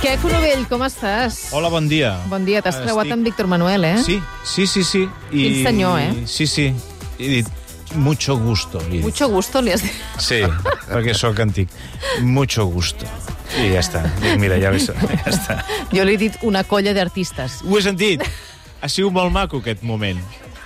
Pere Forubell, com estàs? Hola, bon dia. Ah, Bon dia, t'has creuat Estic- amb Víctor Manuel, eh? Sí, sí, sí, sí. I... Quin senyor, eh? Sí, sí. I he dit, mucho gusto. Li he dit. Mucho gusto, li has dit. Sí, perquè sóc antic. Mucho gusto. I ja està. Dic, mira, ja, ves, ja està. Jo li he dit una colla d'artistes. Ho he sentit. Ha sigut molt maco, aquest moment.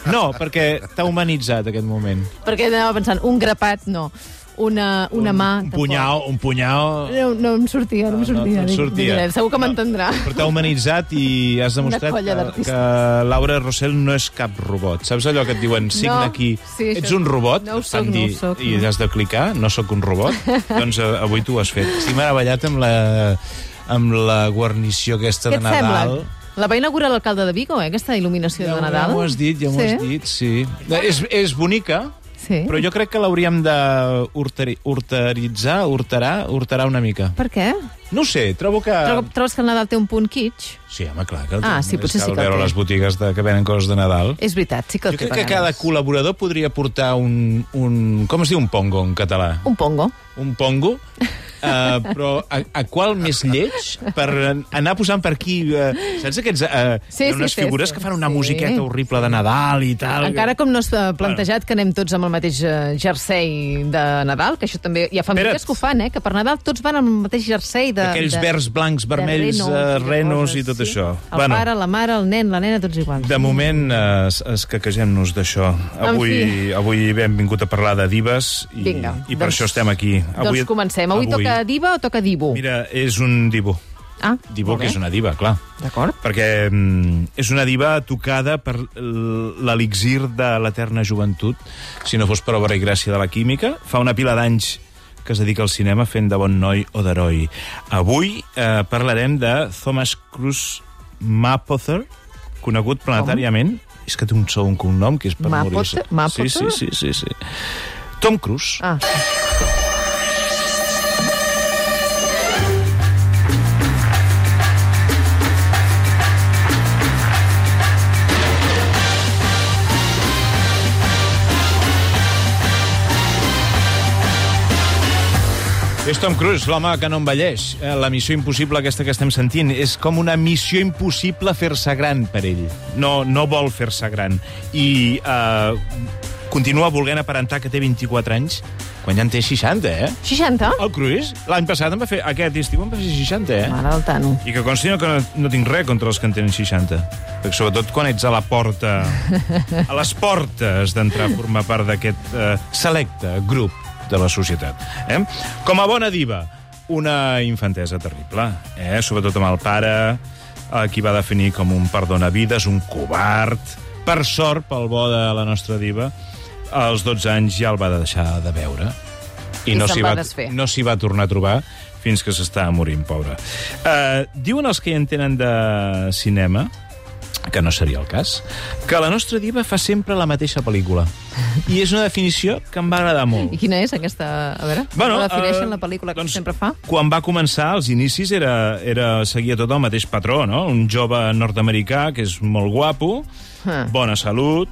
No, perquè t'ha humanitzat, aquest moment. Perquè anava pensant, un grapat, no. Una, una mà... un tampoc. punyal, un punyal... No, no em sortia, no em No, no, sortia. no et dic, sortia. mira, segur que m'entendrà. Però t'ha humanitzat i has demostrat colla que, d'artistes. que Laura Rossell no és cap robot. Saps allò que et diuen, signa No, aquí, sí, això- ets un robot? no ho et soc, fan no ho dir, soc, I no. has de clicar, no sóc un robot? doncs eh, avui tu ho has fet. Estic meravellat amb la, amb la guarnició aquesta Què de et Nadal. sembla? La va inaugurar l'alcalde de Vigo, eh, aquesta il·luminació Ja, de ho- Nadal. ja m'ho has dit, ja m'ho sí. has dit, sí. És, és bonica, Sí. però jo crec que l'hauríem de hortari- hortaritzar, hortarar, hortarar una mica. Per què? No ho sé, trobo que... Trobo- Trobes que el Nadal té un punt kitsch? Sí, home, clar. Que el Ah, té. sí, És potser sí que el veure té. les botigues de, que venen coses de Nadal. És veritat, sí que el Jo té. crec que per cada vegades. col·laborador podria portar un... un com es diu un pongo en català? Un pongo. Un pongo? Uh, però a, a qual més lleig per anar posant per aquí uh, saps aquests uh, Sí, hi ha sí, unes sí, figures sí, que fan una sí. musiqueta horrible de Nadal i tal Encara com no s'ha plantejat que anem tots amb el mateix eh, jersei de Nadal, que això també... Hi ha famílies Espera't. que ho fan, eh? Que per Nadal tots van amb el mateix jersei de... aquells de, verds blancs, de vermells, renos, eh, de renos coses, i tot sí. això El bueno. pare, la mare, el nen, la nena, tots iguals. De moment, eh, es- escaquegem-nos d'això. Avui, avui hem vingut a parlar de divas i, Vinga, i per doncs- això estem aquí. Avui, doncs comencem. Avui, avui toca diva o toca divo? Mira, és un divo. ah, Divo molt que bé. és una diva, clar. D'acord. Perquè mm, és una diva tocada per l- l'elixir de l'eterna joventut, si no fos per obra i gràcia de la química. Fa una pila d'anys que es dedica al cinema fent de bon noi o d'heroi. Avui eh, parlarem de Thomas Cruz Mapother, conegut planetàriament. Com? És que té un segon cognom que és per Mapother? morir-se. Mapother? Sí, sí, sí, sí, sí. Tom Cruise. Ah, És Tom Cruise, l'home que no envelleix. Eh, La missió impossible aquesta que estem sentint és com una missió impossible fer-se gran per ell. No, no vol fer-se gran. I eh, continua volent aparentar que té 24 anys quan ja en té 60, eh? 60? El Cruise, l'any passat en va fer... Aquest estiu en va fer 60, eh? Mare del Tano. I que consti que no, no tinc res contra els que en tenen 60. Perquè sobretot quan ets a la porta, a les portes d'entrar a formar part d'aquest eh, selecte grup de la societat. Eh? Com a bona diva, una infantesa terrible, eh? sobretot amb el pare, a qui va definir com un perdonavides, un covard. Per sort, pel bo de la nostra diva, als 12 anys ja el va deixar de veure. I no se'n s'hi va va desfer. no s'hi va tornar a trobar fins que s'estava morint, pobre. Uh, diuen els que hi entenen de cinema, que no seria el cas, que la nostra diva fa sempre la mateixa pel·lícula. I és una definició que em va agradar molt. I quina és aquesta... A veure, Bueno, com la defineixen eh, la pel·lícula que doncs- sempre fa? Quan va començar, als inicis, era, era seguia tot el mateix patró, no? Un jove nord-americà que és molt guapo, Ah. bona salut,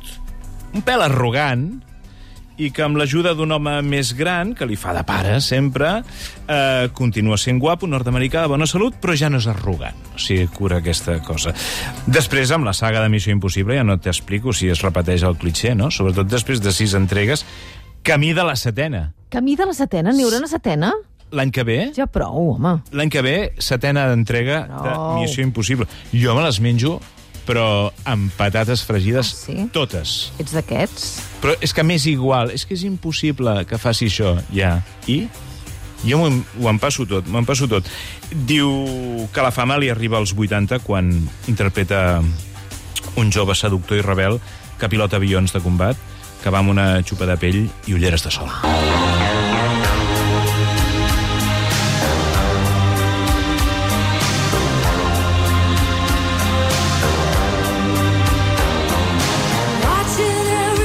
un pèl arrogant, i que amb l'ajuda d'un home més gran, que li fa de pare sempre, eh, continua sent guapo, nord-americà, de bona salut, però ja no és arrogant. O sigui, cura aquesta cosa. Després, amb la saga de Missió Impossible, ja no t'explico si es repeteix el cliché, no? Sobretot després de sis entregues, camí de la setena. Camí de la setena? N'hi haurà una setena? L'any que ve... Ja prou, home. L'any que ve, setena d'entrega de Prou. Missió Impossible. Jo me les menjo, però amb patates fregides Ah, sí? totes. Ets d'aquests? Però és que m'és igual, és que és impossible que faci això, ja. I? Jo m'ho ho em passo tot, m'ho em passo tot. Diu que la fama li arriba als 80 quan interpreta un jove seductor i rebel que pilota avions de combat, que va amb una xupa de pell i ulleres de sol.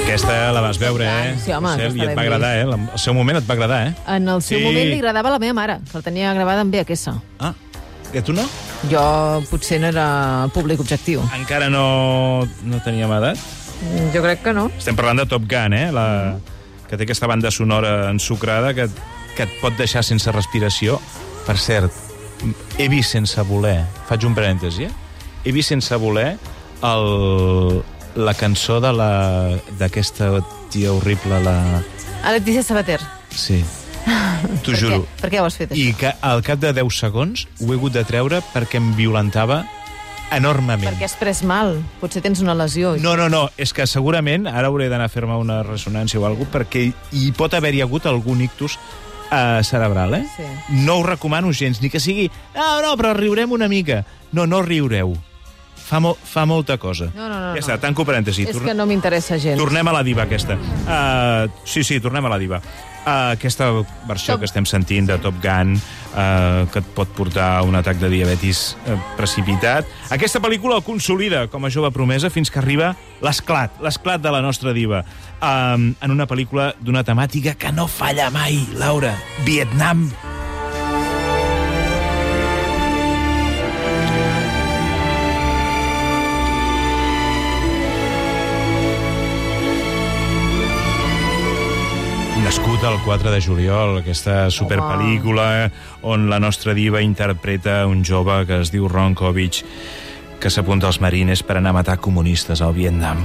Aquesta la vas veure, eh? Sí, home, Rossell, aquesta I et l'he va agradar, eh? La- El seu moment et va agradar, eh? En el seu Sí. moment li agradava a la meva mare, que la tenia gravada en VHS. Ah, i a tu no? Jo potser no era públic objectiu. Encara no, no teníem edat. Jo crec que no. Estem parlant de Top Gun, eh? La, que té aquesta banda sonora ensucrada que, que et pot deixar sense respiració. Per cert, he vist sense voler, faig un parèntesi, eh? he vist sense voler el, la cançó de la- d'aquesta tia horrible, la... A Letícia Sabater. Sí, t'ho Per juro. Què? Per què ho has fet, això? I que al cap de 10 segons ho he hagut de treure perquè em violentava enormement. Perquè has pres mal. Potser tens una lesió. No, no, no, és que segurament ara hauré d'anar a fer-me una ressonància o alguna perquè hi pot haver-hi hagut algun ictus eh, cerebral, eh? Sí. No ho recomano gens, ni que sigui... No, no, però riurem una mica. No, no riureu. Fa, mo fa molta cosa. No, no, no, Ja no. està, tanco parèntesi. És Torna- que no m'interessa gens. Tornem a la diva aquesta. Uh, sí, sí, tornem a la diva. Uh, aquesta versió Top- que estem sentint de Top Gun, uh, que et pot portar a un atac de diabetis uh, precipitat. Aquesta pel·lícula el consolida com a jove promesa fins que arriba l'esclat, l'esclat de la nostra diva, um, en una pel·lícula d'una temàtica que no falla mai, Laura. Vietnam. Nascut el 4 de juliol, aquesta superpel·lícula on la nostra diva interpreta un jove que es diu Ron Kovic que s'apunta als marines per anar a matar comunistes al Vietnam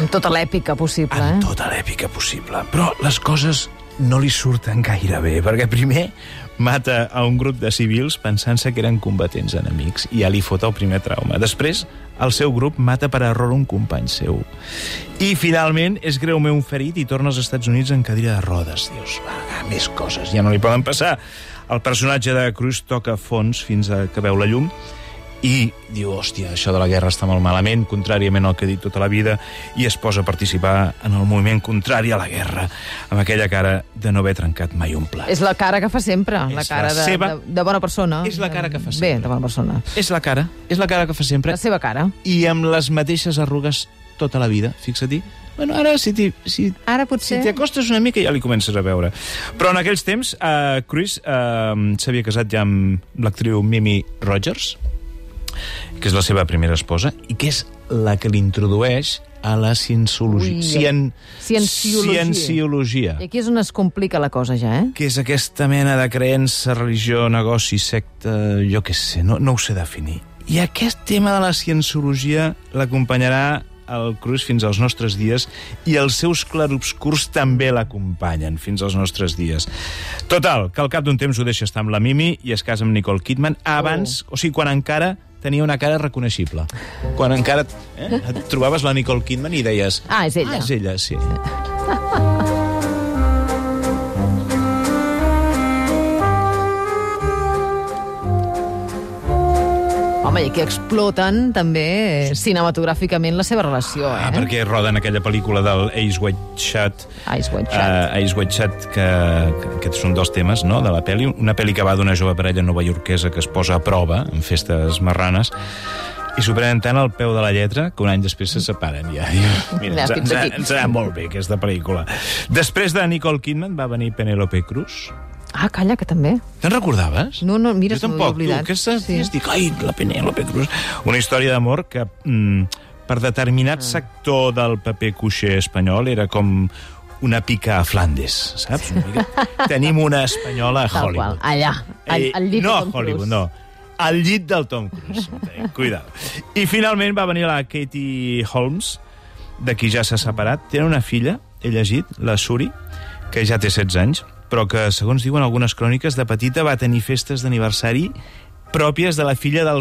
Amb tota l'èpica possible, en eh? tota l'èpica possible. Però les coses no li surten gaire bé, perquè primer mata a un grup de civils pensant-se que eren combatents enemics i ja li fot el primer trauma. Després, el seu grup mata per error un company seu. I finalment és greument ferit i torna als Estats Units en cadira de rodes. Dius, va, més coses, ja no li poden passar. El personatge de Cruz toca fons fins a que veu la llum i diu, hòstia, això de la guerra està molt malament, contràriament al que he dit tota la vida, i es posa a participar en el moviment contrari a la guerra, amb aquella cara de no haver trencat mai un plat. És la cara que fa sempre, la És cara la de, seva- de, de bona persona. És la cara que fa Bé, sempre. de bona persona. És la cara, és la cara que fa sempre, La seva cara. i amb les mateixes arrugues tota la vida, fixa-t'hi. Bueno, ara, si t'hi si, Ara si potser... t'hi acostes una mica, ja li comences a veure. Però en aquells temps, eh, Chris eh, s'havia casat ja amb l'actriu Mimi Rogers, que és la seva primera esposa, i que és la que l'introdueix a la cienciologia. Ui, cien... cienciologia. cienciologia I aquí és on es complica la cosa, ja, eh? que és aquesta mena de creença, religió, negoci, secta, jo què sé, no, no ho sé definir. I aquest tema de la cienciologia l'acompanyarà el Cruz fins als nostres dies i els seus clarobscurs també l'acompanyen fins als nostres dies. Total, que al cap d'un temps ho deixa estar amb la Mimi i es casa amb Nicole Kidman abans, oh. o sigui, quan encara tenia una cara reconeixible. Quan encara eh, et trobaves la Nicole Kidman i deies... Ah, és ella. Eh? Ah, és ella, sí. Home, i aquí exploten també eh, cinematogràficament la seva relació, eh? Ah, perquè roden aquella pel·lícula del Ace White Shot, Ice White Shot. Uh, Ice White Chat, que, que aquest és un dels temes no, de la pel·li. Una pel·li que va d'una jove parella novaiorquesa que es posa a prova en festes marranes i s'ho prenen tant al peu de la lletra que un any després se separen ja. I, Ja, Mira, ens, fins ens, aquí. ens anà molt bé aquesta pel·lícula. Després de Nicole Kidman va venir Penélope Cruz. Ah, calla, que també. Te'n recordaves? No, no, mira, jo se m'ho tampoc, havia oblidat. Tu, aquesta, Sí. sí. dic, ai, la Penélope Cruz. Una història d'amor que, mm, per determinat Ah. sector del paper coixer espanyol, era com una pica a Flandes, saps? Una mica. Tenim una espanyola a Tal Hollywood. qual, allà, al, al llit Eh, de Tom no a Hollywood, Cruise. no. Al llit del Tom Cruise. Eh, Cuidao. I finalment va venir la Katie Holmes, de qui ja s'ha separat. Tenen una filla, he llegit, la Suri, que ja té 16 anys, però que, segons diuen algunes cròniques, de petita va tenir festes d'aniversari pròpies de la filla del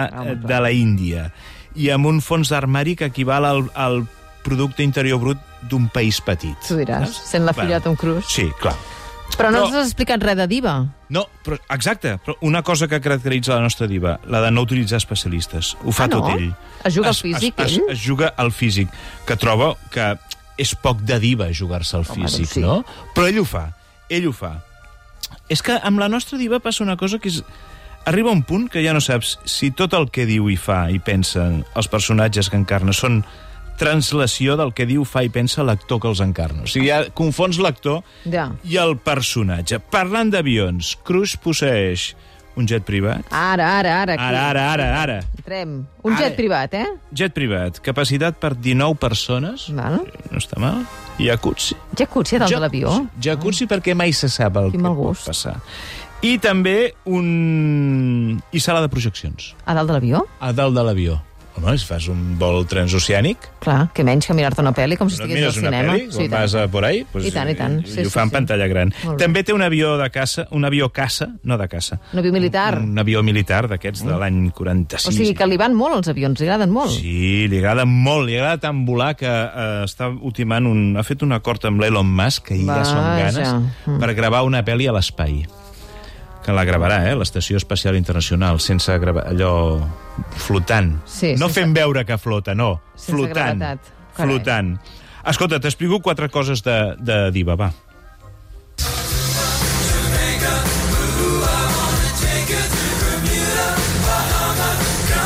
Ah, eh, home, clar. de la Índia i amb un fons d'armari que equival al, al producte interior brut d'un país petit. Tu diràs, saps? sent la filla de Tom Cruise. Sí, clar. Però no però- ens has explicat res de diva. No, però, exacte, però una cosa que caracteritza la nostra diva, la de no utilitzar especialistes. Ho fa Ah, no? tot ell. Es juga al físic, es, ell? es, es juga al físic, que troba que és poc de diva jugar-se al Home, físic, doncs sí. no? Però ell ho fa, ell ho fa. És que amb la nostra diva passa una cosa que és... Arriba un punt que ja no saps si tot el que diu i fa i pensa els personatges que encarna són translació del que diu, fa i pensa l'actor que els encarna. O sigui, ja confons l'actor Ja. i el personatge. Parlant d'avions, Cruz posseix un jet privat. Ara, ara, ara. aquí. Ara, ara, ara, ara. Entrem. Un Ara. jet privat, eh? Jet privat, capacitat per 19 persones. Val. No està mal. Jacuzzi. Jacuzzi a dalt de l'avió. Jacuzzi perquè mai se sap el Quin que mal pot gust. passar. I també un... i sala de projeccions. A dalt de l'avió? A dalt de l'avió. Home, si fas un vol transoceànic, Clar, que menys que mirar-te una pel·li com si no et estigués al mires una cinema. pel·li, quan i tant. vas a por ahí, pues, I tant, i tant. Sí, i ho sí, fa en sí. pantalla gran. Molt bé. També té un avió de caça, un avió caça, no de caça, Un avió militar. un avió militar d'aquests de l'any Mm. 46. O sigui que li van molt els avions, li agraden molt. Sí, li agrada molt, li agrada tant volar que eh, està ultimant un... ha fet un acord amb l'Elon Musk, que ja són Vaja. Mm. ganes, per gravar una pel·li a l'espai. Que la gravarà, eh?, l'Estació Espacial Internacional, sense gravar allò flotant. Sí, no sense- fent veure que flota, no. Sense flotant. gravetat. Carai. Flotant. Escolta, t'explico quatre coses de, de Diva, va.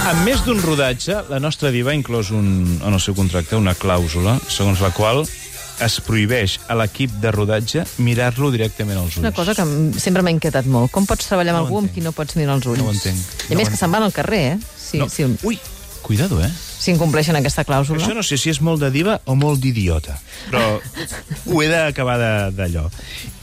A més d'un rodatge, la nostra diva ha inclòs un, en el seu contracte una clàusula segons la qual es prohibeix a l'equip de rodatge mirar-lo directament als ulls. Una cosa que em- sempre m'ha inquietat molt. Com pots treballar amb No ho algú amb entenc. qui no pots mirar els ulls? No ho entenc. I a No més ho que se'n van al carrer, eh? Si, No. no. si, Ui, cuidado, eh? si incompleixen aquesta clàusula. Això no sé si és molt de diva o molt d'idiota, però ho he d'acabar de- d'allò.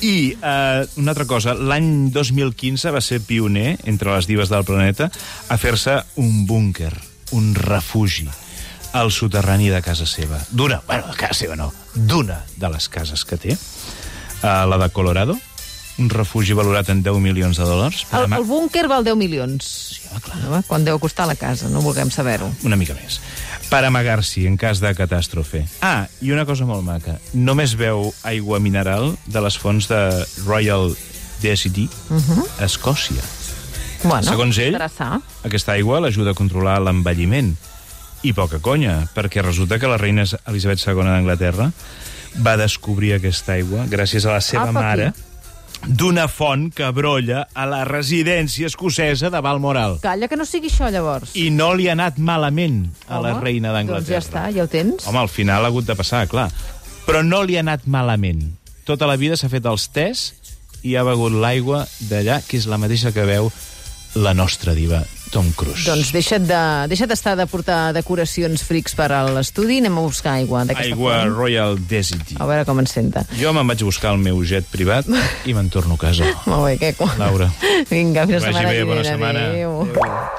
I eh, una altra cosa, l'any 2015 va ser pioner, entre les divas del planeta, a fer-se un búnquer, un refugi al soterrani de casa seva. D'una, bueno, de casa seva no, d'una de les cases que té, a la de Colorado, un refugi valorat en 10 milions de dòlars. per El, ama- el búnquer val 10 milions. Sí, home, clar. Home, quan deu costar la casa, no vulguem saber-ho. una mica més, per amagar-s'hi en cas de catàstrofe. Ah, i una cosa molt maca. Només veu aigua mineral de les fonts de Royal Deity, uh Mhm. -huh. Escòcia. Bueno, Segons ell- Interessar. Aquesta aigua l'ajuda a controlar l'envelliment. I poca conya, perquè resulta que la reina Elisabet II d'Anglaterra va descobrir aquesta aigua gràcies a la seva Apa, mare d'una font que brolla a la residència escocesa de Balmoral. Calla que no sigui això, llavors. I no li ha anat malament a la Home, reina d'Anglaterra. Doncs ja està, ja ho tens. Home, al final ha hagut de passar, clar. Però no li ha anat malament. Tota la vida s'ha fet els tests i ha begut l'aigua d'allà, que és la mateixa que veu la nostra diva, Tom Cruise. Doncs deixa't de- deixa't d'estar de, de portar decoracions frics per a l'estudi i anem a buscar aigua d'aquesta Aigua font. Royal Desity. A veure com ens senta. Jo me'n vaig buscar el meu jet privat i me'n torno a casa. Molt bé, què? Laura. Vinga, fins la Que vagi setmana bé, que bona ve. setmana. Adéu.